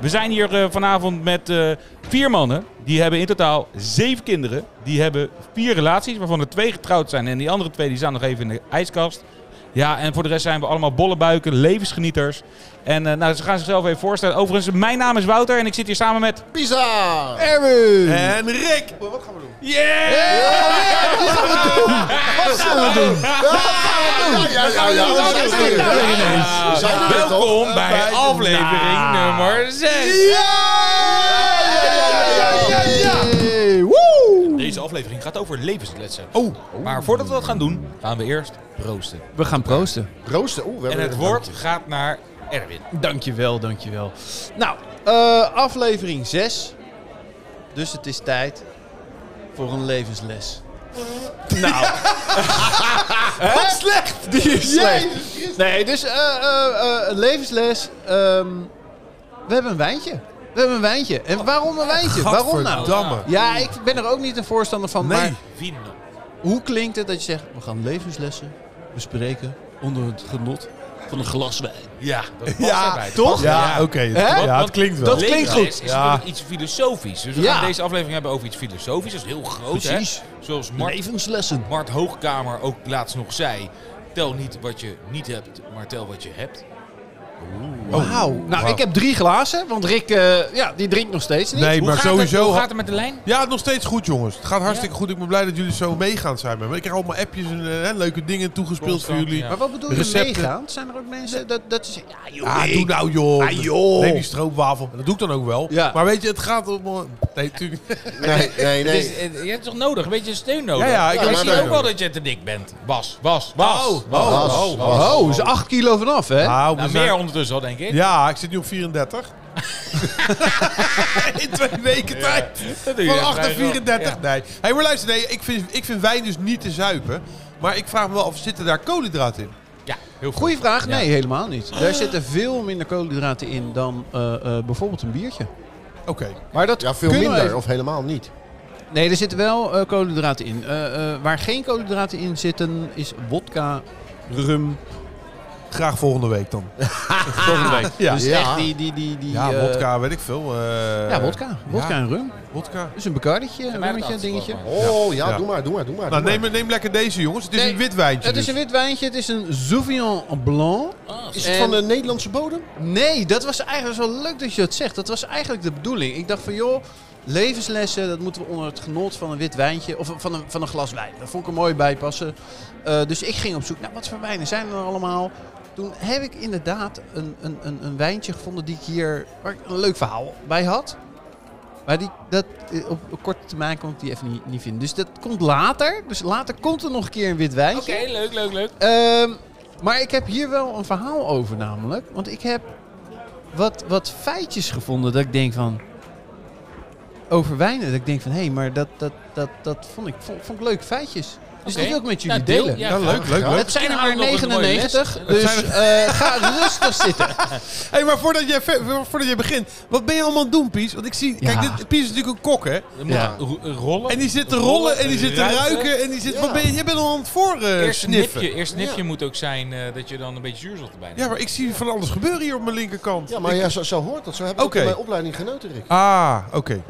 We zijn hier eh, vanavond met eh, vier mannen. Die hebben in totaal zeven kinderen. Die hebben vier relaties, waarvan er twee getrouwd zijn. En die andere twee die staan nog even in de ijskast. Ja, en voor de rest zijn we allemaal bolle buiken, levensgenieters. En eh, nou, ze gaan zichzelf even voorstellen. Overigens, mijn naam is Wouter en ik zit hier samen met... Pisa! Erwin! En Rick! Ja, ja, ja, ja, we ja, doen? ja, ja, ja, ja. Ah, We zijn er weer, toch? Welkom bij aflevering Nou. nummer 6. Hey, woe! Deze aflevering gaat over levenskletsen. Oh, maar voordat we dat gaan doen, gaan we eerst roosten. We gaan proosten. Rooster, oeh, we En hebben het weer- woord gaat naar Erwin. Dankjewel, dankjewel. Nou, eh, aflevering 6. Dus het is tijd voor een levensles. Nou. Wat slecht! Die is slecht. Nee, dus eh, eh, eh, een levensles. ehm, we hebben een wijntje. We hebben een wijntje. En waarom een wijntje? Waarom nou? Gadverdamme. Ja, ik ben er ook niet een voorstander van. Nee. Maar nou? Hoe klinkt het dat je zegt, we gaan levenslessen bespreken onder het genot van een glas wijn? Ja, dat past Ja, erbij. Dat toch? past Ja, erbij. Oké, Hè? ja, het klinkt wel. Dat klinkt Leefles goed. is Ja. natuurlijk iets filosofisch. Dus we Ja. gaan deze aflevering hebben over iets filosofisch. Dat is heel groot, Precies. hè? Zoals Mart, Levenslessen. Mart Hoogkamer ook laatst nog zei. Tel niet wat je niet hebt, maar tel wat je hebt. Wauw. Nou, ik heb drie glazen, want Rick, eh, ja, die drinkt nog steeds niet. Nee, Hoe maar gaat het- sowieso... hoe gaat het met de lijn? Ja, nog steeds goed, jongens. Het gaat hartstikke goed. Ik ben blij dat jullie zo meegaan zijn met me. Ik krijg allemaal appjes en eh, hè, leuke dingen toegespeeld voor Constant, jullie. ja. Maar wat bedoel je Recepten. meegaan? Zijn er ook mensen dat, dat ze zeggen, ja joh, Ah, ik- doe nou, joh. Ah, joh. Neem die stroopwafel. En Dat doe ik dan ook wel. Ja. Maar weet je, het gaat om... eh, Nee, natuurlijk niet. Nee, nee, Het is- nee. eh, je hebt toch nodig? Een beetje steun nodig? Ja, ja, ik ik heb zie steun ook wel nodig. dat je te dik bent. Bas, Bas, Bas. Oh, Bas. Bas, oh, Bas. oh. Oh, is er acht kilo vanaf, hè? Nou, we Nou, zijn- meer ondertussen al, denk ik. Ja, ik zit nu op 34. In twee weken tijd. Dat doe je Van vrij 8 naar wel. 34. Ja. Nee. Hey, maar luister, nee, ik, vind, ik vind wijn dus niet te zuipen. Maar ik vraag me wel af, zitten daar koolhydraten in? Ja, heel goed. Goeie vraag. Ja. Nee, helemaal niet. Daar zitten veel minder koolhydraten in dan eh, eh, bijvoorbeeld een biertje. Oké. Maar dat Ja, veel kunnen we minder even- of helemaal niet. Nee, er zitten wel eh, koolhydraten in. Eh, eh, waar geen koolhydraten in zitten, is wodka, rum, Graag volgende week dan. Ah, volgende week. Ja. Dus Ja. echt die... die, die, die Ja, eh, wodka, weet ik veel. eh, ja, wodka. Wodka ja, en rum. wodka. Dus een Bacardetje, een mij had rummetje, een het dingetje. afgesproken. Oh, ja, Ja. doe maar, doe maar, doe maar. Nou, doe neem, maar. neem lekker deze, jongens. Het is Nee, een wit wijntje. Het is een dus. wit wijntje, het is een Sauvignon Blanc. Ah, Is het van En- de Nederlandse bodem? Nee, dat was eigenlijk zo leuk dat je dat zegt. Dat was eigenlijk de bedoeling. Ik dacht van joh, levenslessen, dat moeten we onder het genot van een wit wijntje of van een, van een glas wijn. Dat vond ik er mooi bij passen. Eh, dus ik ging op zoek naar wat voor wijnen zijn er allemaal. Toen heb ik inderdaad een, een, een, een wijntje gevonden die ik hier waar ik een leuk verhaal bij had. Maar die, dat, eh, op, op korte termijn kon ik die even niet, niet vinden. Dus dat komt later. Dus later komt er nog een keer een wit wijntje. Oké, leuk, leuk, leuk. Ehm, maar ik heb hier wel een verhaal over namelijk. Want ik heb wat, wat feitjes gevonden dat ik denk van... Over wijnen. Dat ik denk van, hé, maar dat, dat, dat, dat vond, ik, vond, vond ik leuke feitjes. Dus Oké. die wil ik met jullie Nou, deel. delen. Ja, Ja, leuk, leuk, leuk. Het zijn er maar Nog een mooie 99, les. dus eh, ga rustig zitten. hey, maar voordat jij, ver- voordat jij begint, wat ben je allemaal aan het doen, Pies? Want ik zie... Ja. Kijk, dit, Pies is natuurlijk een kok, hè? Er moet Ja. ro- rollen. En die zit te rollen en die zit te ruiken en die zit... Ja. Wat ben je, jij bent al aan het voor eh, Eerst sniffen. nipje, eerst nipje moet ook zijn eh, dat je dan een beetje zuurstof erbij neemt. Ja, maar ik zie van alles gebeuren hier op mijn linkerkant. Ja, maar ja, zo, zo hoort dat. Zo heb ik Oké. het in mijn opleiding genoten, Rick. Ah, oké.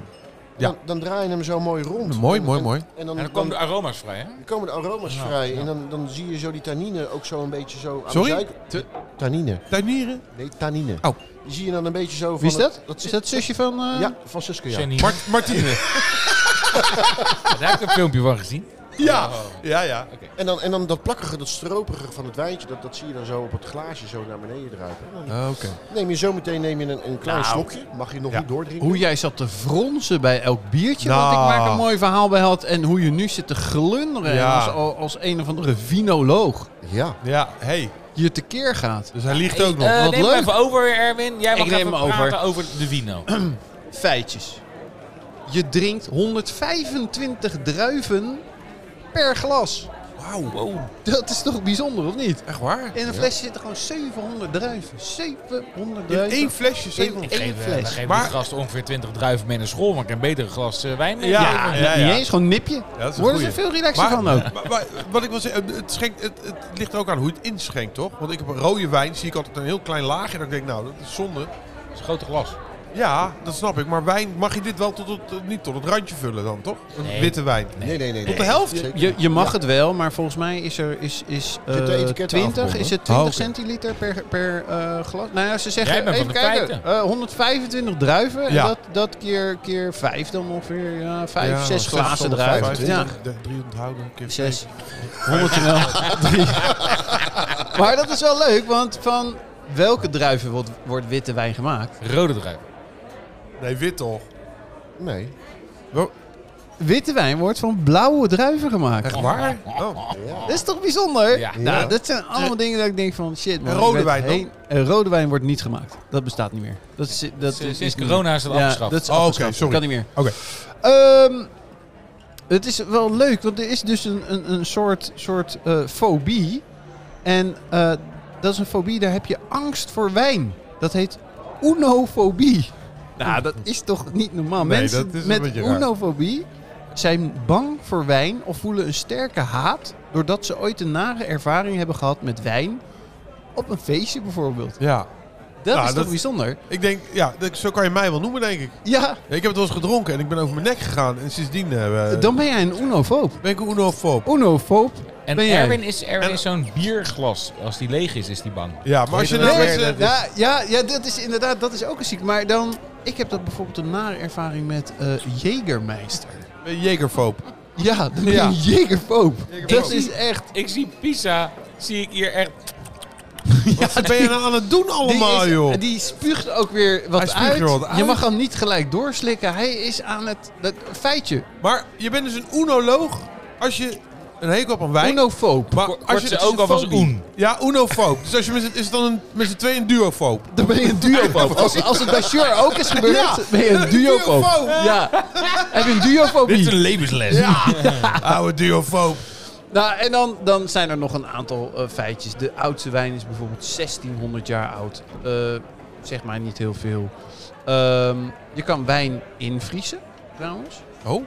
Ja. Dan, dan draai je hem zo mooi rond. Mooi, En- mooi, en- mooi. En dan, En dan dan, komen de aroma's vrij, hè? komen de aroma's Ja, vrij. ja. En dan, dan zie je zo die tannine ook zo een beetje zo aan Sorry? de zijkant. Tannine. Tuinieren? Nee, tannine. Oh. Die zie je dan een beetje zo van... Wie is het- dat? Is dat zusje van... eh, Ja, van Suske, ja. Janine. Mart Martine. Daar heb ik een filmpje van gezien. ja. ja, ja. En dan, en dan dat plakkige, dat stroperige van het wijntje, dat, dat zie je dan zo op het glaasje zo naar beneden druipen. En Dan Ah, oké. neem je zometeen neem je een, een klein Nou. slokje, mag je nog Ja. niet doordrinken. Hoe jij zat te fronsen bij elk biertje, wat Nou. ik maar een mooi verhaal bij had. En hoe je nu zit te glunderen Ja. als, als een of andere vinoloog. Ja. Ja, hey. Je tekeer gaat. Dus hij liegt ook nog. Eh, Wat neem leuk. hem even over, Erwin. Jij mag Ik neem even hem praten over de wino. feitjes. Je drinkt 125 druiven per glas. Wauw. Dat is toch bijzonder, of niet? Echt waar? In een flesje zitten gewoon 700 druiven. 700 In druiven. één flesje In zeven. één Geef, eh, fles. geef Maar- die gast ongeveer 20 druiven mee naar school, maar ik een betere glas eh, wijn mee. Ja. Ja, Nou, Niet eens, gewoon nipje. dat is een Worden ze goeie. veel relaxer van ook. maar- maar wat ik wil zeggen, het, schenkt, het, het ligt er ook aan hoe je het inschenkt, toch? Want ik heb een rode wijn, zie ik altijd een heel klein laagje. Dan denk ik, nou, dat is zonde. Dat is een grote glas. Ja, dat snap ik. Maar wijn mag je dit wel tot het, eh, niet tot het randje vullen dan, toch? Een Nee. Witte wijn. Nee, nee, nee. Tot de helft? Je, je mag het wel, maar volgens mij is er is, is, eh, Zit de etiketten 20, afgebonden? is het 20 Oh, oké. centiliter per, per eh, glas. Nou ja, ze zeggen, Jij bent even van de kijken, feiten. eh, 125 druiven. Ja. En dat, dat keer, keer 5 dan ongeveer, ja, 5, Ja, 6 zes glazen tot druiven. Ja, 25, de- Drie onthouden. keer Zes. 100 ml. Drie. maar dat is wel leuk, want van welke druiven wordt, wordt witte wijn gemaakt? Rode druif. twee. Nee, wit toch? Nee. Witte wijn wordt van blauwe druiven gemaakt. Echt waar? Oh. Ja. Dat is toch bijzonder? Ja. Eh, Nou, Ja. dat zijn allemaal dingen dat ik denk van shit. Man, En rode ik ben wijn dan? heen- en rode wijn wordt niet gemaakt. Dat bestaat niet meer. Dat is, dat Sinds- is, sinds is niet corona meer. is dat ja, afgeschaft. Dat is Oh, oké, afgeschaft. sorry. Kan niet meer. Oké. Ehm, het is wel leuk, want er is dus een, een, een soort, soort eh, fobie. En eh, dat is een fobie, daar heb je angst voor wijn. Dat heet unofobie. Nou, dat is toch niet normaal. Nee, Mensen dat is een met beetje raar. unofobie zijn bang voor wijn of voelen een sterke haat... doordat ze ooit een nare ervaring hebben gehad met wijn... op een feestje bijvoorbeeld. Ja. Dat Ja, is toch dat- bijzonder? Ik denk, ja, dat- zo kan je mij wel noemen, denk ik. Ja, Ja, ik heb het wel eens gedronken en ik ben over mijn nek gegaan. En sindsdien eh, dan ben jij een unofoob. ben ik een unofoob. Unofoob En Ben jij? Erwin is, Erwin En- is zo'n bierglas. Als die leeg is, is die bang. Ja, maar als je Nee, nou nee, met z'n- nee, Ja, ja, ja, dat is inderdaad, dat is ook een ziek. Maar dan, ik heb dat bijvoorbeeld een nare ervaring met eh Jägermeister. ben je Jägerfoob. Ja, dan ben je Ja. een Jägerfoob. Dat zie- is echt, Ik zie Pisa, zie ik hier echt... Wat ben je nou aan het doen die, allemaal, joh? is, die spuugt ook weer wat, Hij spuugt uit. er wat Je uit. mag hem niet gelijk doorslikken. Hij is aan het, dat feitje, Maar je bent dus een unoloog als je een hekel hebt aan wijn. unofoob. Maar dus Wordt ze ook al als een Oen. Ja, unofoob. Dus als je met z'n- is het dan een, met z'n tweeën een duofoob? Dan ben je een duofoob. Als, als het bij Sjur ook is gebeurd, Ja, ben je een een duofoob. duofoob. Ja, heb je een Dit is duofobie. een levensles. Oude duofoob. Nou, en dan, dan zijn er nog een aantal eh, feitjes. De oudste wijn is bijvoorbeeld 1600 jaar oud. Eh zeg maar niet heel veel. Ehm, je kan wijn invriezen, trouwens. Oh,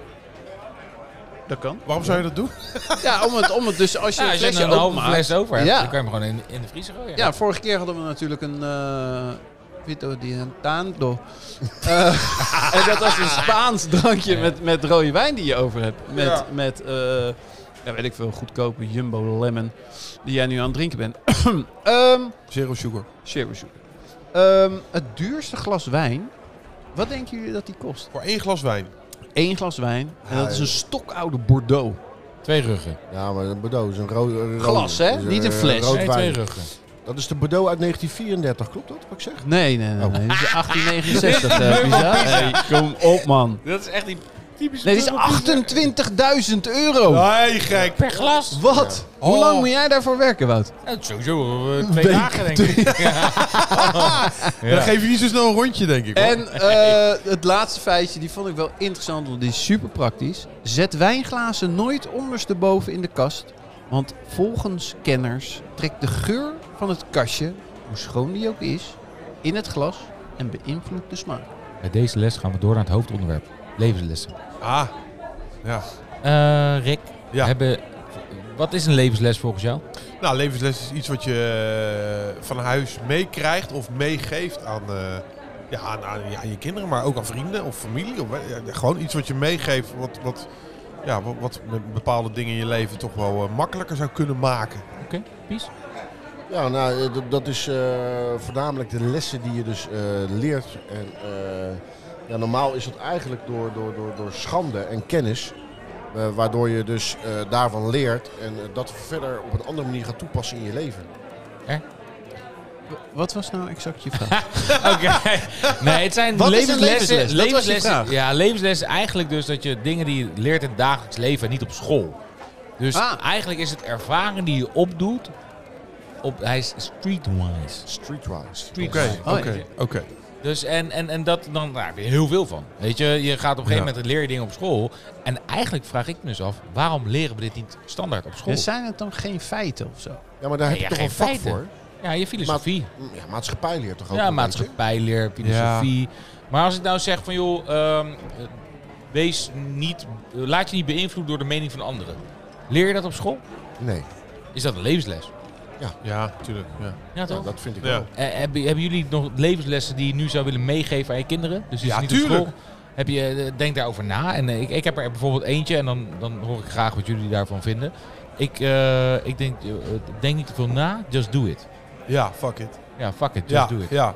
Dat kan. waarom zou je dat doen? Ja, om het, om het dus als je Ja, een als je flesje een halve openmaakt. fles over hebt, Ja. dan kan je hem gewoon in, in de vriezer gooien. Ja, vorige keer hadden we natuurlijk een eh Vito di Antando. Eh, en dat was een Spaans drankje met, met rode wijn die je over hebt. Met, Ja. met eh, ja, weet ik veel, goedkope Jumbo Lemon die jij nu aan het drinken bent. Ehm Zero sugar. Zero sugar. Ehm, het duurste glas wijn, wat denken jullie dat die kost? Voor één glas wijn. Eén glas wijn en dat is een Ui. stokoude Bordeaux. Twee ruggen. Ja, maar een Bordeaux is een rood... een Glas, rood- hè? is een Niet een fles. rood Nee, twee wijn. ruggen. Dat is de Bordeaux uit 1934, klopt dat wat ik zeg? Nee, nee, nee. Oh. nee. Dit is 1869, eh, Pisa. Hey, kom op, man. Dat is echt die typische... Nee, dit is 28.000 euro. Nee, gek. Per glas. Wat? Ja. Hoe lang Oh. moet jij daarvoor werken, Wout? Nou, sowieso eh, twee dagen, denk ik. Ja. Dan geef je niet zo snel een rondje, denk ik. hoor. En eh, het laatste feitje, die vond ik wel interessant, want die is super praktisch. Zet wijnglazen nooit ondersteboven in de kast. Want volgens kenners trekt de geur van het kastje, hoe schoon die ook is, in het glas en beïnvloedt de smaak. Met deze les gaan we door naar het hoofdonderwerp. Levenslessen. Ah, ja. Eh, Rick, Ja. hebben, wat is een levensles volgens jou? Nou, levensles is iets wat je eh, van huis meekrijgt of meegeeft aan, eh, ja, aan, aan, ja, aan je kinderen, maar ook aan vrienden of familie. Of, eh, ja, gewoon iets wat je meegeeft, wat, wat, ja, wat, wat met bepaalde dingen in je leven toch wel eh, makkelijker zou kunnen maken. Oké, Pies? Ja, nou, eh, dat- dat is eh, voornamelijk de lessen die je dus eh, leert. En, eh, ja, normaal is dat eigenlijk door, door, door, door schande en kennis. eh, waardoor je dus eh, daarvan leert en eh, dat verder op een andere manier gaat toepassen in je leven. W- Wat was nou exact je vraag? Oké. Nee, het zijn Wat is een levenslessen. levensles? Dat was je vraag. ja, levenslessen eigenlijk dus dat je dingen die je leert in het dagelijks leven en niet op school. Dus Ah. eigenlijk is het ervaring die je opdoet. Op, hij is streetwise. Streetwise. Oké, Streetwise. Oh, oké, ja. oké. Dus en, en, en dat, dan, daar heb je heel veel van. Weet je, je gaat op een gegeven Ja. moment leer je dingen op school. En eigenlijk vraag ik me dus af, waarom leren we dit niet standaard op school? Ja, zijn het dan geen feiten of zo? Ja, maar daar heb Nee, je ja, toch een geen vak feiten. voor? Ja, je filosofie. Ja, maatschappijleer toch ook? Ja, een maatschappijleer, filosofie. Maar als ik nou zeg van joh, ehm, eh, wees niet, eh, laat je niet beïnvloeden door de mening van anderen. Leer je dat op school? beetje? Nee. Is dat een levensles? Ja, tuurlijk. Ja. Ja, Ja, toch? dat vind ik Ja. wel. Eh, hebben, hebben jullie nog levenslessen die je nu zou willen meegeven aan je kinderen? Dus die Ja, is niet op tuurlijk. school. Heb je, eh, denk daarover na. En eh, ik, ik heb er bijvoorbeeld eentje en dan, dan hoor ik graag wat jullie daarvan vinden. Ik, eh, ik denk, eh, denk niet te veel na, just do it. ja, fuck it. Ja, fuck it, just Ja, do it. Ja, ja.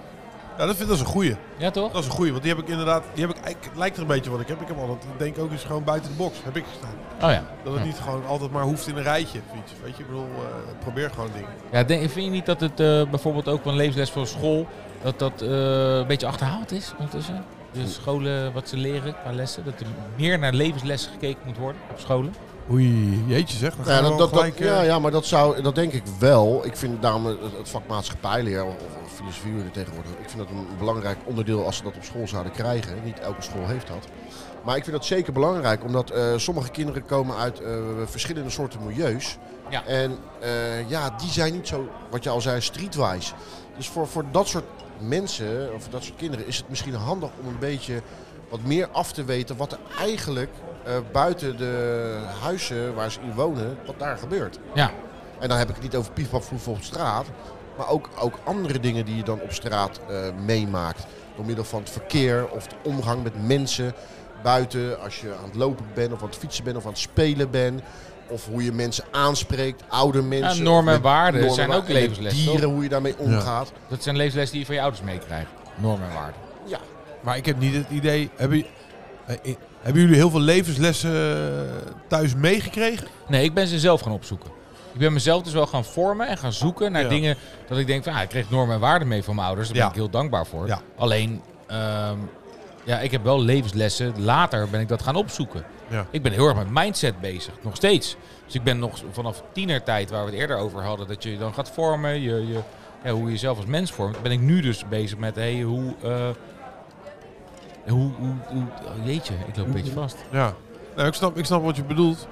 ja dat, vind, dat is een goeie. toch? Dat is een goeie, want die heb ik inderdaad... Die heb ik, eigenlijk- lijkt er een beetje wat ik heb. Ik heb altijd, ik denk ook eens gewoon buiten de box. Heb ik gestaan. Oh ja. Dat het Ja. niet gewoon altijd maar hoeft in een rijtje. Weet je, weet je ik bedoel, eh, probeer gewoon dingen. Ja, denk, vind je niet dat het eh, bijvoorbeeld ook van levensles voor school, dat dat eh, een beetje achterhaald is ondertussen? Dus scholen, wat ze leren qua lessen, dat er meer naar levenslessen gekeken moet worden op scholen. Oei, jeetje zeg. Dan Ja, gaan we wel dat, dat, dat- gelijk, eh, ja, ja, maar dat, zou, dat denk ik wel. Ik vind daarom het, het vak maatschappijleer of, of filosofie hoe je het tegenwoordig. Ik vind dat een belangrijk onderdeel als ze dat op school zouden krijgen. Niet elke school heeft dat. Maar ik vind dat zeker belangrijk, omdat eh, sommige kinderen komen uit eh, verschillende soorten milieus. Ja. En eh, ja, die zijn niet zo, wat je al zei, streetwise. Dus voor, voor dat soort mensen, of dat soort kinderen, is het misschien handig om een beetje wat meer af te weten wat er eigenlijk eh, buiten de huizen waar ze in wonen, wat daar gebeurt. Ja, En dan heb ik het niet over piefpafroeven op straat, maar ook, ook andere dingen die je dan op straat eh, meemaakt. Door middel van het verkeer of de omgang met mensen buiten, als je aan het lopen bent of aan het fietsen bent of aan het spelen bent. Of hoe je mensen aanspreekt, oude mensen. Ja, normen en of met waarden normen zijn en ook waarden. En met levensles, Dieren, hoe je daarmee omgaat. dat zijn levenslessen die je van je ouders meekrijgt. Normen en waarden. Ja. Maar ik heb niet het idee... Hebben, j- eh, eh, hebben jullie heel veel levenslessen eh, thuis meegekregen? Nee, ik ben ze zelf gaan opzoeken. Ik ben mezelf dus wel gaan vormen en gaan zoeken naar Ja. dingen dat ik denk van, ah, ik kreeg normen en waarden mee van mijn ouders. Daar ben Ja. ik heel dankbaar voor. Ja. Alleen, ehm, ja, ik heb wel levenslessen. Later ben ik dat gaan opzoeken. Ja. Ik ben heel erg met mindset bezig, nog steeds. Dus ik ben nog vanaf tienertijd, waar we het eerder over hadden, dat je je dan gaat vormen, je, je, ja, hoe je jezelf als mens vormt. Ben ik nu dus bezig met, hey, hoe, eh, hoe, hoe, hoe, oh, jeetje, ik loop een beetje vast. Ja. Nou, ik snap, ik snap wat je bedoelt.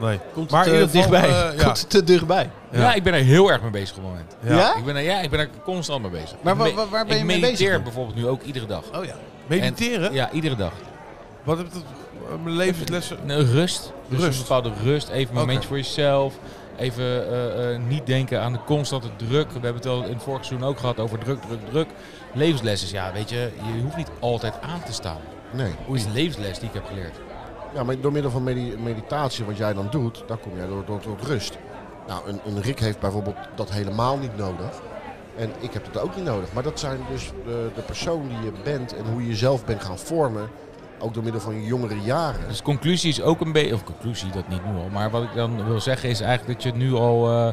Nee. Komt Maar het, in eh, ieder geval, dichtbij? eh, ja. Komt het te dichtbij? Ja. ik ben er heel erg mee bezig op het moment. Ja? Ik ben er, ja, ik ben er constant mee bezig. Maar Ik wa- me- wa- waar ben je mee Ik mediteer bezig? bijvoorbeeld nu ook iedere dag. Oh ja. Mediteren? Ja, iedere dag. Wat heb dat... eh, Mijn levenslessen... Nou, rust. Dus Rust. een bepaalde rust. Even een Oké. momentje voor jezelf. Even eh, eh, niet denken aan de constante druk. We hebben het al in het vorige seizoen ook gehad over druk, druk, druk. Levenslessen. Ja, weet je, je hoeft niet altijd aan te staan. Nee. Dat is een levensles die ik heb geleerd. Ja, maar door middel van medi- meditatie, wat jij dan doet, daar kom jij door, door, tot rust. Nou, een, een Rick heeft bijvoorbeeld dat helemaal niet nodig. En ik heb dat ook niet nodig. Maar dat zijn dus de, de persoon die je bent en hoe je jezelf bent gaan vormen. Ook door middel van je jongere jaren. Dus conclusie is ook een beetje, of conclusie, dat niet nu al. Maar wat ik dan wil zeggen is eigenlijk dat je nu al eh,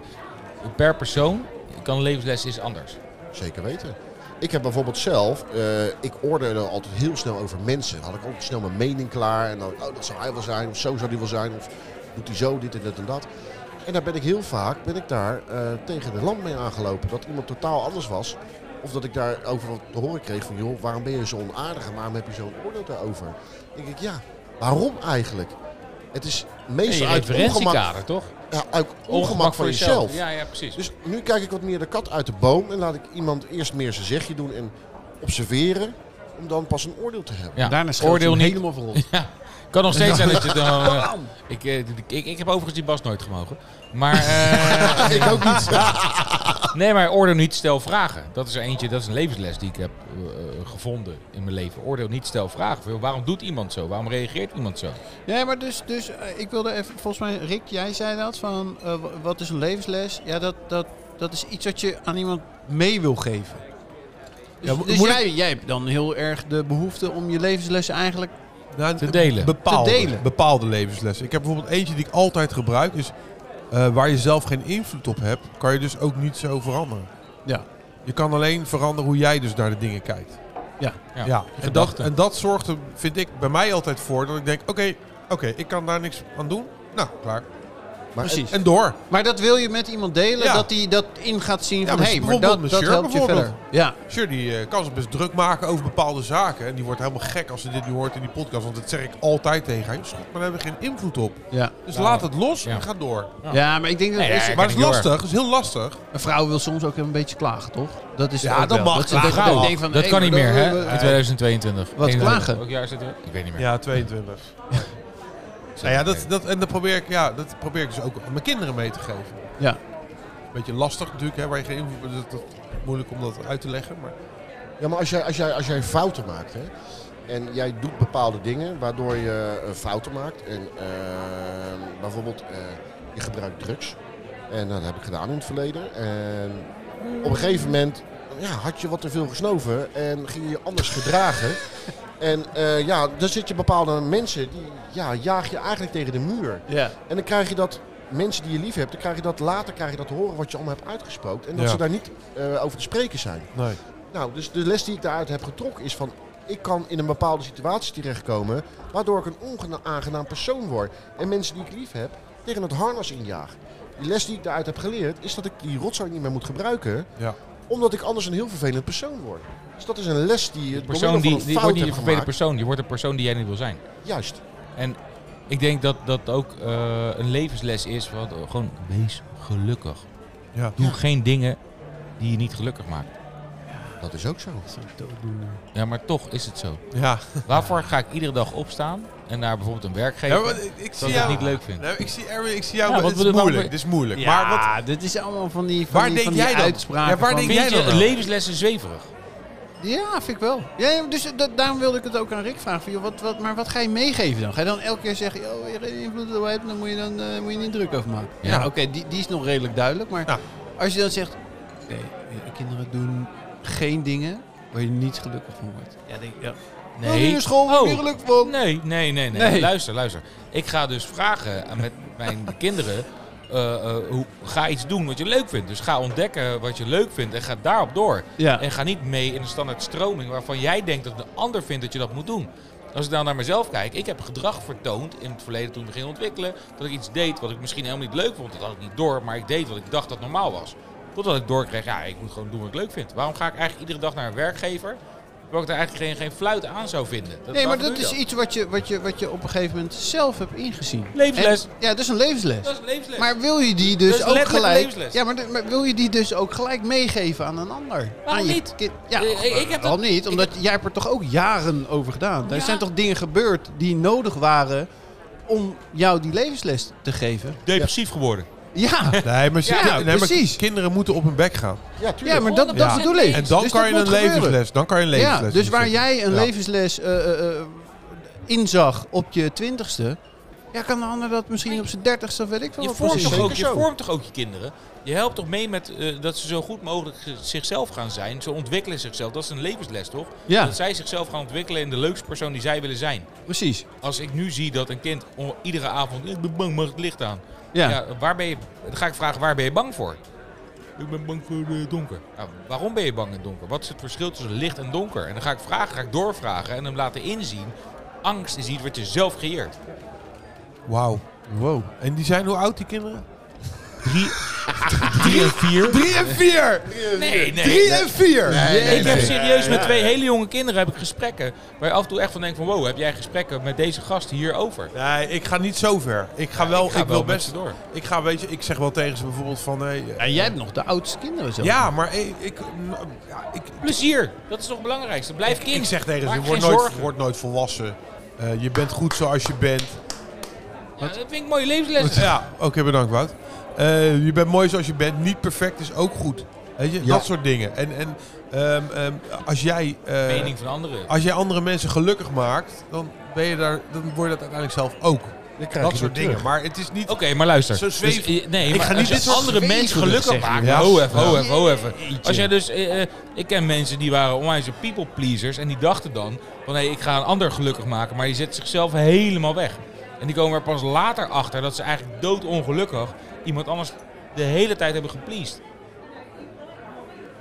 per persoon, kan levensles is anders. Zeker weten. Ik heb bijvoorbeeld zelf, eh, ik oordeelde altijd heel snel over mensen. Dan had ik ook snel mijn mening klaar. En dan, oh, dat zou hij wel zijn, of zo zou die wel zijn, of doet hij zo, dit en dat en dat. En daar ben ik heel vaak, ben ik daar eh, tegen de lamp mee aangelopen. Dat iemand totaal anders was. Of dat ik daar over wat te horen kreeg van, joh, waarom ben je zo onaardig en waarom heb je zo'n oordeel daarover? Dan denk ik, ja, waarom eigenlijk? Het is En meestal je uit ongemak, referentiekader, toch? ja, uit ongemak van jezelf. Ja, ja, precies. Dus nu kijk ik wat meer de kat uit de boom en laat ik iemand eerst meer zijn zegje doen en observeren om dan pas een oordeel te hebben. ja. Daarna scheelt Oordeel je niet. helemaal verrot. Ja, kan nog steeds zijn dat je dan... eh, ik, eh, ik, ik heb overigens die Bas nooit gemogen. Maar... eh, Ik ook niet. nee, maar oordeel niet, stel vragen. Dat is er eentje, dat is een levensles die ik heb eh, eh, gevonden in mijn leven. Oordeel niet, stel vragen. Van, Waarom doet iemand zo? Waarom reageert iemand zo? Ja, maar dus, dus eh, ik wilde even, volgens mij, Rick, jij zei dat van eh, wa- wat is een levensles? Ja, dat, dat, dat is iets wat je aan iemand mee wil geven. Dus, Ja, mo- dus moet jij, jij hebt dan heel erg de behoefte om je levenslessen eigenlijk. Nou, Te delen. Bepaalde, Te delen. bepaalde levenslessen. Ik heb bijvoorbeeld eentje die ik altijd gebruik. Is eh, waar je zelf geen invloed op hebt, kan je dus ook niet zo veranderen. Ja. Je kan alleen veranderen hoe jij dus naar de dingen kijkt. Ja. Ja, ja. En, dat, gedachten. en dat zorgt er, vind ik, bij mij altijd voor dat ik denk, oké, oké, ik kan daar niks aan doen. Nou, klaar. Maar Precies. En door. Maar dat wil je met iemand delen, Ja. dat hij dat in gaat zien Ja, van maar hey, maar bijvoorbeeld dat, dat mijn shirt helpt je verder. bijvoorbeeld. Ja, Sure, die eh, kan zich best druk maken over bepaalde zaken. En die wordt helemaal gek als ze dit nu hoort in die podcast. Want dat zeg ik altijd tegen haar. Schat, maar daar hebben we geen invloed op. ja. Dus Nou, laat het los ja. en ga door. Ja. ja, maar ik denk dat Nee, is- ja, Maar ik dat is heel erg. lastig. Dat is heel lastig. een vrouw wil soms ook een beetje klagen, toch? Dat is Ja, ook dat wel. mag. ze- Klagen ik mag. denk van, Dat hey, kan niet maar meer, dan- hè? we- In 2022. Wat 21. klagen? Welk jaar is het? weer? Ik weet niet meer. Ja, 22. Nou ja, dat, dat, en dat probeer, ik, ja, dat probeer ik dus ook aan mijn kinderen mee te geven. Ja. beetje lastig natuurlijk, hè, waar je geen invloed op hebt. Dat, dat- moeilijk om dat uit te leggen. Maar Ja, maar als jij, als jij, als jij fouten maakt, hè, en jij doet bepaalde dingen waardoor je eh, fouten maakt. En eh, bijvoorbeeld, eh, je gebruikt drugs. En dat heb ik gedaan in het verleden. En op een gegeven moment ja, had je wat te veel gesnoven en ging je je anders gedragen. En eh, ja, dan zit je bepaalde mensen, die ja, jaag je eigenlijk tegen de muur. Ja. En dan krijg je dat, mensen die je lief hebt, dan krijg je dat later krijg je dat te horen wat je allemaal hebt uitgesproken. En dat Ja. ze daar niet eh, over te spreken zijn. nee. Nou, dus de les die ik daaruit heb getrokken is van... Ik kan in een bepaalde situatie terechtkomen waardoor ik een onaangenaam persoon word. En mensen die ik lief heb, tegen het harnas injaag. Die les die ik daaruit heb geleerd is dat ik die rotzooi niet meer moet gebruiken. Ja. Omdat ik anders een heel vervelend persoon word. Dus dat is een les die De het persoon die, die wordt niet een hebt vervelende gemaakt. persoon, je wordt een persoon die jij niet wil zijn. Juist. En ik denk dat dat ook eh, een levensles is. Wat, gewoon wees gelukkig. Ja. Doe Ja. geen dingen die je niet gelukkig maakt. Dat is ook zo. Ja, maar toch is het zo. Ja. Waarvoor ga ik iedere dag opstaan en naar bijvoorbeeld een werkgever? maar eh, ik, ik dat zie ik het jou... niet leuk vind. Nee, ik zie Erwin, ik zie jou... Ja, wat het is bedoel- moeilijk, waarom- dit is moeilijk. Ja, Maar wat... dit is allemaal van die, van Waar die, denk van die jij dan? uitspraken. Ja, waar van- denk Vind jij je dat wel? levenslessen zweverig? Ja, vind ik wel. Ja, ja, dus dat, daarom wilde ik het ook aan Rick vragen. Van, joh, wat, wat, maar wat ga je meegeven dan? Ga je dan elke keer zeggen, joh, je geen invloed op hebt, dan moet je dan eh, moet je niet druk over maken. Ja, Ja. oké, die, die is nog redelijk duidelijk. Maar Ja. als je dan zegt, nee, eh, kinderen doen geen dingen waar je niet gelukkig van wordt. Ja, denk ik, ja. Nee. Nee. school, Oh. oh. gelukkig van. Nee, nee, nee, nee, Nee. Luister, luister. Ik ga dus vragen aan met mijn kinderen. eh, eh, hoe, ga iets doen wat je leuk vindt. Dus ga ontdekken wat je leuk vindt en ga daarop door. Ja. En ga niet mee in een standaard stroming waarvan jij denkt dat de ander vindt dat je dat moet doen. Als ik dan naar mezelf kijk, ik heb gedrag vertoond in het verleden toen ik me ging ontwikkelen. Dat ik iets deed wat ik misschien helemaal niet leuk vond. Dat had ik niet door, maar ik deed wat ik dacht dat normaal was. Totdat ik doorkreeg, ja, ik moet gewoon doen wat ik leuk vind. Waarom ga ik eigenlijk iedere dag naar een werkgever? Terwijl ik daar eigenlijk geen, geen fluit aan zou vinden. Nee, maar waarom dat doe je is iets wat je, wat, je, wat je op een gegeven moment zelf hebt ingezien. Levensles. En- ja, dat is een levensles. Dat is een levensles. Maar wil je die dus Dat is ook letterlijk gelijk. levensles. Ja, maar, de- maar wil je die dus ook gelijk meegeven aan een ander? Waarom aan je niet? kind? Ja, Eh, eh, ik heb waarom dat- niet? ik Omdat jij hebt er toch ook jaren over gedaan. Er Ja. zijn toch dingen gebeurd die nodig waren om jou die levensles te geven? Depressief geworden. Ja. Nee, maar, ze- Ja, nee, maar precies. kinderen moeten op hun bek gaan. Ja, Ja, tuurlijk. maar dat, dat Ja. bedoel ik. En dan Dus kan dat je moet een gebeuren. levensles. Dan kan je een levensles. Ja, dus in waar zetten. jij een Ja. levensles eh, eh, eh, inzag op je twintigste... Ja, kan de ander dat misschien op zijn dertigste of weet ik veel Je wat vormt, precies. toch ook, je Zeker zo. vormt toch ook je kinderen? Je helpt toch mee met eh, dat ze zo goed mogelijk z- zichzelf gaan zijn. Ze ontwikkelen zichzelf. Dat is een levensles, toch? Ja, Dat zij zichzelf gaan ontwikkelen in de leukste persoon die zij willen zijn. precies. Als ik nu zie dat een kind o- iedere avond... Ik ben bang, mag het licht aan? Ja. Ja, waar ben je, dan ga ik vragen, waar ben je bang voor? Ik ben bang voor het donker. Nou, waarom ben je bang in het donker? Wat is het verschil tussen licht en donker? En dan ga ik vragen, ga ik doorvragen en hem laten inzien... Angst is iets wat je zelf creëert. Wauw. Wow. En die zijn hoe oud, die kinderen? Drie, drie en vier. Drie en vier! Nee, nee. Drie en vier! ik heb serieus met twee hele jonge kinderen heb ik gesprekken. Waar je af en toe echt van denkt van wow, heb jij gesprekken met deze gast hierover? Nee, ik ga niet zo ver. Ik ga wel, ik, ga wel wil met best ze door. Ik ga, weet je, ik zeg wel tegen ze bijvoorbeeld van, hey, eh, En jij hebt nog de oudste kinderen zo. ja, maar ik, ik, mm, ja, ik, Plezier, dat is toch het belangrijkste. Blijf kind. ik zeg tegen ze, Maak je geen wordt nooit, zorgen. wordt nooit volwassen. Eh, je bent goed zoals je bent. Ja, dat vind ik mooie levenslessen. Ja, oké, bedankt Wout. Eh, je bent mooi zoals je bent. Niet perfect is ook goed. Weet je, Ja. dat soort dingen. En, en ehm, ehm, als jij... eh, Mening van anderen. als jij andere mensen gelukkig maakt, dan, ben je daar, dan word je dat uiteindelijk zelf ook. Dan krijg je Dat weer soort dingen. terug. Maar het is niet... Oké, maar luister. Zo zweef- Dus, eh, nee, Ik maar ga als niet je dit soort andere mensen gelukkig maakt. Ja. Ho even, ho Ja. even, ho even. Jeetje. Als jij dus, eh, eh, ik ken mensen die waren onwijs people pleasers. En die dachten dan van hé, ik ga een ander gelukkig maken. Maar die zet zichzelf helemaal weg. En die komen er pas later achter dat ze eigenlijk doodongelukkig iemand anders de hele tijd hebben gepleased.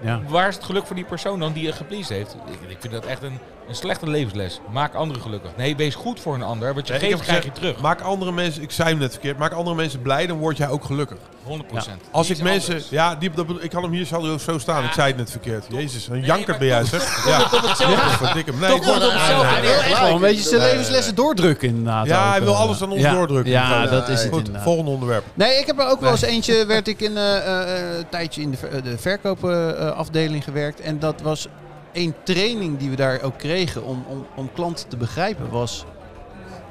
Ja. Waar is het geluk voor die persoon dan die je gepleased heeft? Ik, ik vind dat echt een, een slechte levensles. Maak anderen gelukkig. Nee, wees goed voor een ander. Wat je Nee, ik geeft heb krijg je gezegd, terug. 100%. Maak andere mensen, ik zei hem net verkeerd, maak andere mensen blij, dan word jij ook gelukkig. Als ik Iets mensen, anders. ja, die, dat bedoel- ik had hem hier zo, zo staan, ik zei het net verkeerd. Jezus, een janker maar ben jij toch- zeg. Komt Ja, het op hetzelfde? verdik hem. Nee, Toch ik- komt het op hetzelfde Hij wil neer. echt wel een beetje zijn Nee, nee, levenslessen doordrukken inderdaad. Ja, ook, hij wil eh. alles aan ons Ja. doordrukken. Ja, Nee. dat is het Goed, inderdaad. volgende onderwerp. Nee, ik heb er ook wel eens eentje, werd ik in eh, eh, een tijdje in de, ver- eh, de verkoopafdeling gewerkt. En dat was één training die we daar ook kregen om, om, om klanten te begrijpen was...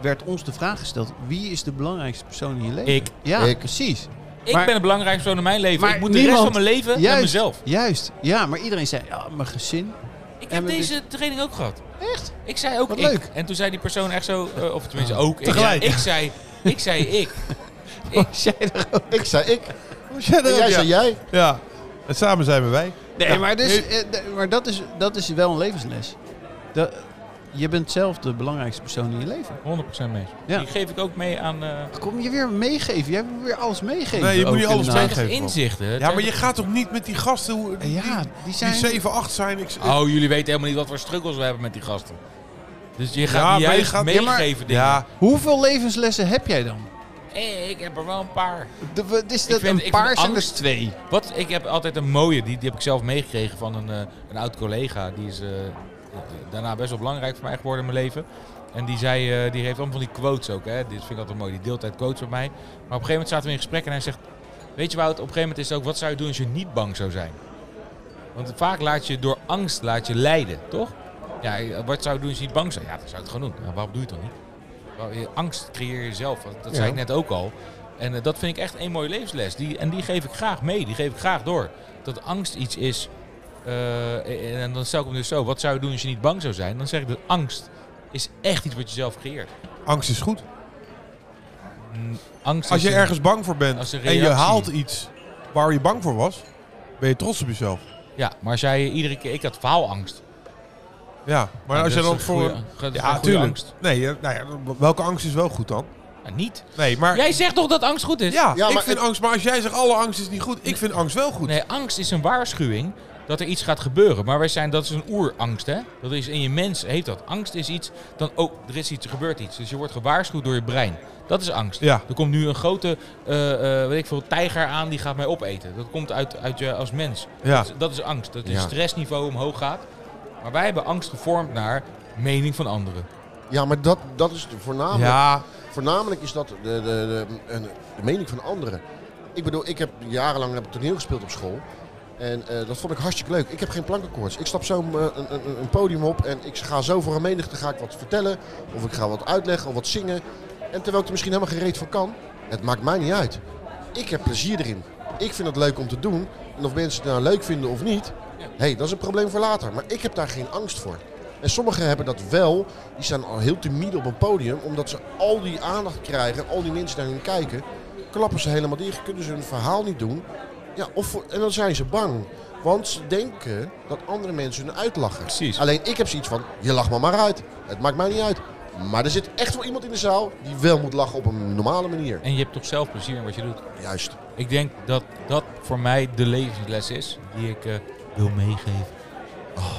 Werd ons de vraag gesteld, wie is de belangrijkste persoon in je leven? Ik. Ja, Ik. precies. Ik Maar- ben het belangrijkste persoon in mijn leven. Maar ik moet de rest niemand- van mijn leven naar Juist, mezelf. Juist, ja, maar iedereen zei, ja, mijn gezin. Ik En heb met deze training ook gehad. Echt? Ik zei ook Wat ik. leuk. En toen zei die persoon echt zo, eh, of tenminste ook. ik. Tegelijk. Ja, Ik, zei, ik zei ik. Ik zei er ook. Ik zei ik. Ja, En jij ja. zei jij. ja. En samen zijn we wij. Nee, Ja. maar, dus, eh, d- maar dat, is, dat is wel een levensles. Dat, je bent zelf de belangrijkste persoon in je leven. 100% mee. Ja. Die geef ik ook mee aan... eh, Kom je weer meegeven? Jij moet weer alles meegeven. Nee, je moet ook niet alles inderdaad. meegeven. Geef inzichten. Het Ja, zijn maar je gaat toch niet met die gasten hoe, die, Ja, die zijn... die 7, 8 zijn. Ik, ik- Oh, jullie weten helemaal niet wat voor struggles we hebben met die gasten. Dus je gaat niet Ja, maar je juist gaat- ja, maar- meegeven dingen. ja, Hoeveel levenslessen heb jij dan? Hé, ik heb er wel een paar. De- wat is dat vind- een ik paar vind zijn er angst- twee? Wat, ik heb altijd een mooie, die, die heb ik zelf meegekregen van een, eh, een oud collega. Die is eh, daarna best wel belangrijk voor mij geworden in mijn leven. En die, zei, eh, die heeft allemaal van die quotes ook. Hè. Dit vind ik altijd mooi, die deeltijd quotes van mij. Maar op een gegeven moment zaten we in gesprek en hij zegt... Weet je Wout, op een gegeven moment is het ook... Wat zou je doen als je niet bang zou zijn? Want vaak laat je door angst laat je lijden, toch? Ja, wat zou je doen als je niet bang zou zijn? Ja, dan zou je het gewoon doen. Ja, waarom doe je het dan niet? Wel, je- Angst creëer je zelf. Dat dat zei Ja. ik net ook al. En eh, dat vind ik echt een mooie levensles. Die, en die geef ik graag mee. Die geef ik graag door. Dat angst iets is. eh, en, en dan stel ik hem dus zo. Wat zou je doen als je niet bang zou zijn? Dan zeg ik dat angst is echt iets wat je zelf creëert. angst is goed. Mm, Angst Als is je een- ergens bang voor als bent een en je reactie. haalt iets waar je bang voor was, ben je trots op jezelf. Ja, maar als jij iedere keer... Ik had faalangst. Ja, maar Ja, als je dat is dan een voor... goeie- dat is een ja, goede tuurlijk. angst. Nee, ja, nou ja, welke angst is wel goed dan? Maar niet. Nee, maar... Jij zegt toch dat angst goed is? Ja, Ja, ik maar vind het- angst... Maar als jij zegt alle angst is niet goed, ik vind angst wel goed. Nee, angst is een waarschuwing dat er iets gaat gebeuren. Maar wij zijn, dat is een oerangst, hè? Dat is in je mens, heeft dat. Angst is iets, dan ook, er is iets, er gebeurt iets. Dus je wordt gewaarschuwd door je brein. Dat is angst. Ja. Er komt nu een grote, eh, eh, weet ik veel, tijger aan die gaat mij opeten. Dat komt uit, uit je als mens. Ja. Dat, is, dat is angst. Dat je Ja. stressniveau omhoog gaat. Maar wij hebben angst gevormd naar mening van anderen. Ja, maar dat, dat is voornamelijk. Ja, Voornamelijk is dat de, de, de, een- de mening van anderen. Ik bedoel, ik heb jarenlang heb ik toneel gespeeld op school. En eh, dat vond ik hartstikke leuk. Ik heb geen plankenkoorts. Ik stap zo eh, een, een, een- een podium op en ik ga zo voor een menigte ga ik wat vertellen. Of ik ga wat uitleggen of wat zingen. En terwijl ik er misschien helemaal geen reet van kan. Het maakt mij niet uit. Ik heb plezier erin. Ik vind het leuk om te doen. En of mensen het nou leuk vinden of niet. Ja. hey, dat is een probleem voor later. Maar ik heb daar geen angst voor. En sommigen hebben dat wel. Die staan al heel timide op een podium. Omdat ze al die aandacht krijgen. Al die mensen naar hun kijken. Klappen ze helemaal dicht. Kunnen ze hun verhaal niet doen. Ja, of, voor- en dan zijn ze bang. Want ze denken dat andere mensen hun uitlachen. Precies. Alleen ik heb zoiets van, je lacht me maar uit. Het maakt mij niet uit. Maar er zit echt wel iemand in de zaal die wel moet lachen op een normale manier. En je hebt toch zelf plezier in wat je doet. Juist. Ik denk dat dat voor mij de levensles is die ik eh, wil meegeven.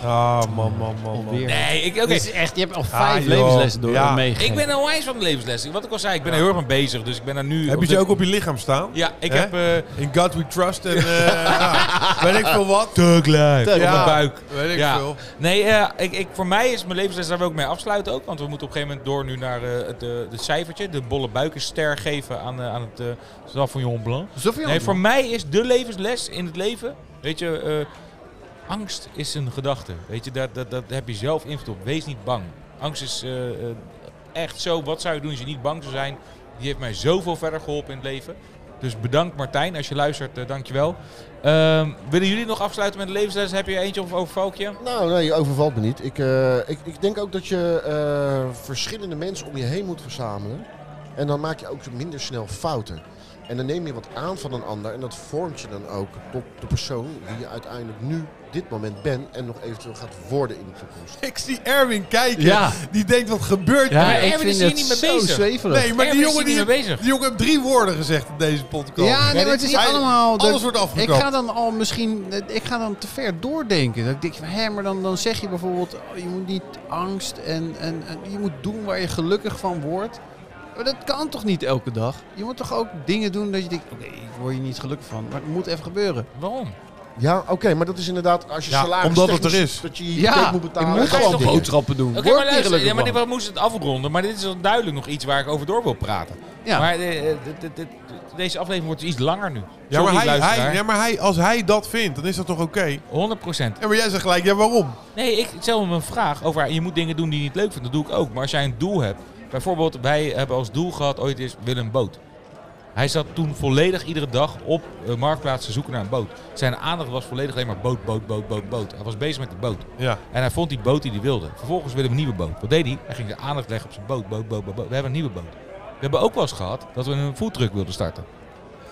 ah man, man, man, man. Alweer. Nee, ik, oké. Dit is echt, je hebt al Ah, vijf joh. levenslessen door Ja. meegegeven. Ik ben een wijs van de levensles. Wat ik al zei, ik ben er heel erg mee bezig. Dus ik ben er nu. Heb je op ze dit- ook op je lichaam staan? Ja, ik Hè? heb. eh In God we trust en... eh, ja, Weet ik veel wat? Tug op mijn buik. eh, Weet ik Ja. veel. Nee, eh, ik, ik, voor mij is mijn levensles daar wil ik mee afsluiten ook. Want we moeten op een gegeven moment door nu naar eh, het, eh, het cijfertje. De bolle buikenster geven aan, eh, aan het eh Stad van Jon Blanc. Zoveel Nee, voor mij is de levensles in het leven. Weet je, eh, angst is een gedachte. Weet je, dat, dat, dat heb je zelf invloed op. Wees niet bang. Angst is eh, eh, echt zo. Wat zou je doen als je niet bang zou zijn? Die heeft mij zoveel verder geholpen in het leven. Dus bedankt Martijn, als je luistert, eh, dankjewel. Ehm, willen jullie nog afsluiten met de levensles? Heb je eentje of overvalt je? Nou, nee, je overvalt me niet. Ik, eh, ik, ik denk ook dat je eh, verschillende mensen om je heen moet verzamelen. En dan maak je ook minder snel fouten. En dan neem je wat aan van een ander en dat vormt je dan ook tot de persoon die je uiteindelijk nu dit moment bent en nog eventueel gaat worden in de toekomst. Ik zie Erwin kijken. Ja. Die denkt, wat gebeurt Ja, hier? maar ik Erwin is vind hier het niet mee zo bezig. zweverig. Nee, maar die Erwin is jongen, hier die, niet mee bezig. die jongen heeft drie woorden gezegd in deze podcast. Ja, nee, maar het is Hij- allemaal... dat- Alles wordt ik afgekapt. ga dan al misschien... eh, Ik ga dan te ver doordenken. Dat ik denk, van, hè, maar dan, dan zeg je bijvoorbeeld... oh, je moet niet angst en, en, en je moet doen waar je gelukkig van wordt. Maar dat kan toch niet elke dag? Je moet toch ook dingen doen dat je denkt... Oké, ik word hier niet gelukkig van. Maar het moet even gebeuren. Waarom? Ja, oké, maar dat is inderdaad als je Ja, salaris omdat het technisch- er is. dat je je Ja, hypotheek moet ik betalen. moet dat gewoon soort dingen. boodschappen doen. Oké, Word maar niet luister, gelukkig ja, maar van. dit- we moesten het afronden. Maar dit is al duidelijk nog iets waar ik over door wil praten. Ja. Maar eh, eh, dit- dit- dit- deze aflevering wordt iets langer nu. Ja, maar, Sorry, hij, hij, luisteraar. ja, maar hij, als hij dat vindt, dan is dat toch oké? 100%. Ja, maar jij zegt gelijk, ja, waarom? Nee, ik stel hem een vraag over. Je moet dingen doen die je niet leuk vindt. Dat doe ik ook. Maar als jij een doel hebt. Bijvoorbeeld, wij hebben als doel gehad ooit eens willen een boot. Hij zat toen volledig iedere dag op eh, marktplaats te zoeken naar een boot. Zijn aandacht was volledig alleen maar boot, boot, boot, boot, boot. Hij was bezig met de boot. Ja. En hij vond die boot die hij wilde. Vervolgens wilde hij een nieuwe boot. Wat deed hij? Hij ging de aandacht leggen op zijn boot, boot, boot, boot. boot. We hebben een nieuwe boot. We hebben ook wel eens gehad dat we een foodtruck wilden starten.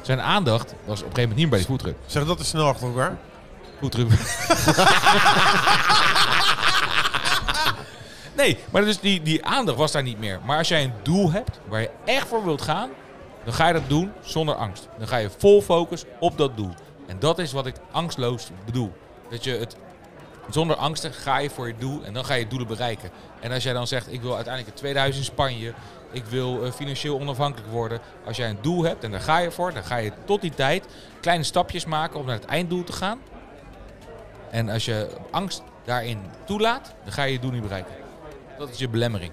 Zijn aandacht was op een gegeven moment niet meer bij die foodtruck. Zeg dat is snel achter elkaar. Foodtruck. nee, maar dus die, die aandacht was daar niet meer. Maar als jij een doel hebt waar je echt voor wilt gaan, dan ga je dat doen zonder angst. Dan ga je vol focus op dat doel. En dat is wat ik angstloos bedoel. Dat je het zonder angsten ga je voor je doel en dan ga je doelen bereiken. En als jij dan zegt, ik wil uiteindelijk het tweede huis in Spanje, ik wil eh, financieel onafhankelijk worden. Als jij een doel hebt en daar ga je voor, dan ga je tot die tijd kleine stapjes maken om naar het einddoel te gaan. En als je angst daarin toelaat, dan ga je je doel niet bereiken. Dat is je belemmering.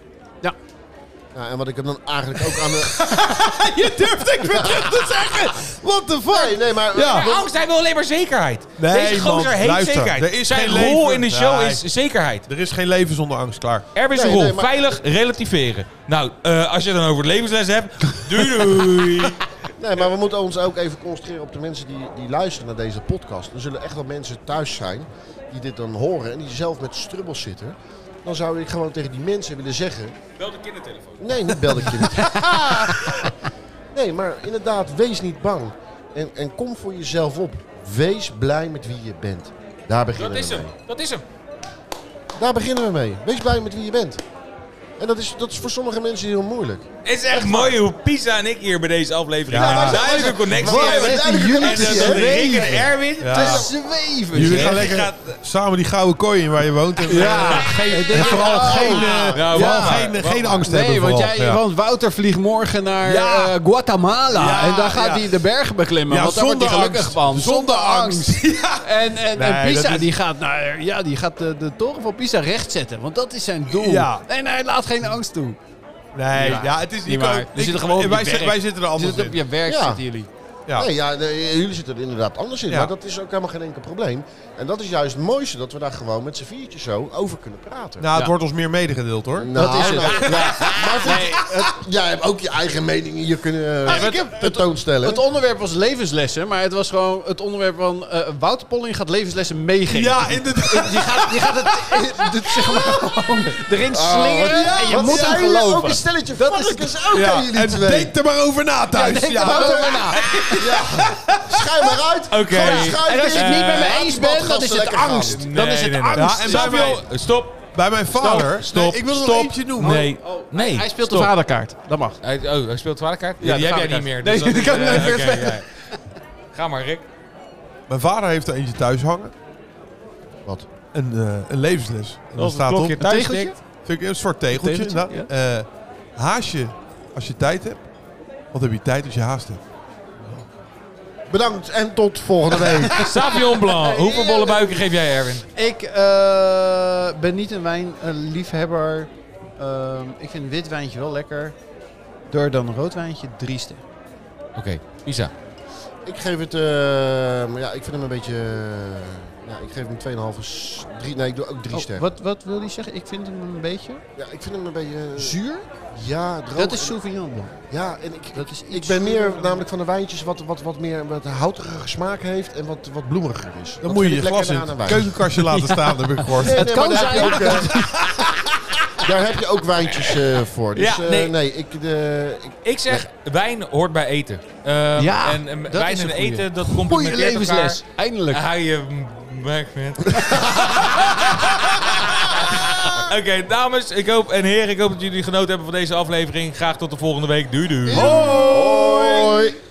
Ja, en wat ik hem dan eigenlijk ook aan de... Je durft ik weer terug te zeggen! What the fuck? Nee, nee, maar... Ja. Ja, angst, hij wil alleen maar zekerheid. Nee, Deze man, gozer heeft luister, zekerheid. er is Zijn geen rol leven. in de show Nee. is zekerheid. Er is geen leven zonder angst, klaar. Er is Nee, een rol. nee, maar- Veilig relativeren. Nou, eh, als je het dan over het levensles hebt. Doei doei. Nee, maar we moeten ons ook even concentreren op de mensen die, die luisteren naar deze podcast. Er zullen echt wel mensen thuis zijn die dit dan horen en die zelf met strubbels zitten. Dan zou ik gewoon tegen die mensen willen zeggen... Wel de kindertelefoon. Nee, niet belde ik je niet. nee, maar inderdaad, wees niet bang. En, en kom voor jezelf op. Wees blij met wie je bent. Daar beginnen Dat is we mee. hem. Dat is hem. Daar beginnen we mee. Wees blij met wie je bent. En dat is, dat is voor sommige mensen heel moeilijk. Het is echt mooi hoe Pisa en ik hier bij deze aflevering Ja, een wij zijn- duidelijke connectie wij zijn- hebben. wij zijn- En dat wij is zijn- Rick en Erwin. Ja. zweven. Jullie Ja. gaan lekker Gaat- samen die gouden kooi in waar je woont. En, eh, Ja. geen, en vooral geen, eh, Ja, vooral ja. geen, eh, geen angst hebben. Nee, want vooral. jij, want Wouter vliegt morgen naar Ja. eh, Guatemala. Ja, en dan gaat ja. hij de bergen beklimmen. Ja, want daar wordt hij zonder gelukkig angst. van. Zonder angst. En, en, en Nee, Pisa dat is- die gaat, naar, ja, die gaat de, de toren van Pisa rechtzetten. Want dat is zijn doel. Ja. En hij laat geen angst toe. Nee, ja, het is Niet kan- waar. ik- eh, We zitten gewoon op wij, je zitten- werk. wij zitten er anders Zit op in. je werk Ja. zitten jullie. Ja. Nee, ja, nee, jullie zitten er inderdaad anders in. Ja. Maar dat is ook helemaal geen enkel probleem. En dat is juist het mooiste, dat we daar gewoon met z'n viertjes zo over kunnen praten. Nou, het Ja. wordt ons meer medegedeeld hoor. Nou, dat is het. nou, nou, maar goed, het- jij hebt ook je eigen meningen hier kunnen Ah, ik eh, heb- tentoonstellen. Het onderwerp was levenslessen, maar het was gewoon het onderwerp van eh, Wouter Polling gaat levenslessen meegeven. Ja, inderdaad. Die gaat, die gaat het, eh, dit, zeg maar, gewoon erin Oh, wat- slingeren en je wat moet zijn hem jullie geloven. Ook een stelletje varkens ook aan Ja. jullie En twee. denk er maar over na thuis. denk er maar over na. Schuim maar uit. Oké. En als je het niet met me Eh, eens laat die bent, dan is badgasten het lekker gaan. angst. Dan is het angst. Ja, en bij Savio, mij- stop. Bij mijn vader. Stop. Stop. Nee, ik wil er nog Stop. eentje noemen. Nee. Oh, Nee. Hij speelt stop. de vaderkaart. Dat mag. Hij, oh, hij speelt vaderkaart? Ja, Ja, die de heb jij niet meer. vaderkaart. Nee, die dat- kan ik eh, niet meer oké, spelen. ja. Ga maar, Rick. Mijn vader heeft er eentje thuis hangen. Wat? Een, eh, een levensles. En dan Als het staat op. klokje thuis tegeltje? tikt. Vind ik een soort tegeltje. Tegeltje, inderdaad. Eh, haast je als je tijd hebt. Wat heb je tijd als je haast hebt? Bedankt en tot volgende week. Savion Blanc, hoeveel bolle buiken geef jij Erwin? Ik eh, ben niet een wijnliefhebber. ik vind wit wijntje wel lekker. Door dan een rood wijntje, drie sterren. Oké, Isa. ik geef het, eh, maar ja, ik vind hem een beetje, eh, ja, ik geef hem 2,5, s- drie. nee, ik doe ook drie Oh, sterren. wat, wat wil hij zeggen? Ik vind hem een beetje Ja, ik vind hem een beetje, eh, zuur. ja, droog. Dat is Sauvignon Blanc. Ja, en ik, Dat is iets ik ben meer zuurder dan- namelijk van de wijntjes wat, wat, wat meer wat houteriger smaak heeft en wat, wat bloemiger is. Dan moet je je glas in aan een het wijn. keukenkastje laten staan, heb ik gehoord. Nee, nee, kan maar daar zijn. Heb je ook, eh, daar heb je ook wijntjes eh, voor. Dus Ja, eh, nee. nee. ik, eh, ik Ik zeg, wijn hoort bij eten. Ehm, Ja, en, en dat wijn is en een goeie. eten, dat Goeie complementeert levensles. elkaar. eh, Eindelijk. Hou je bek, man. Oké, dames ik hoop, en heren, ik hoop dat jullie genoten hebben van deze aflevering. Graag tot de volgende week. Doei doei. Hoi.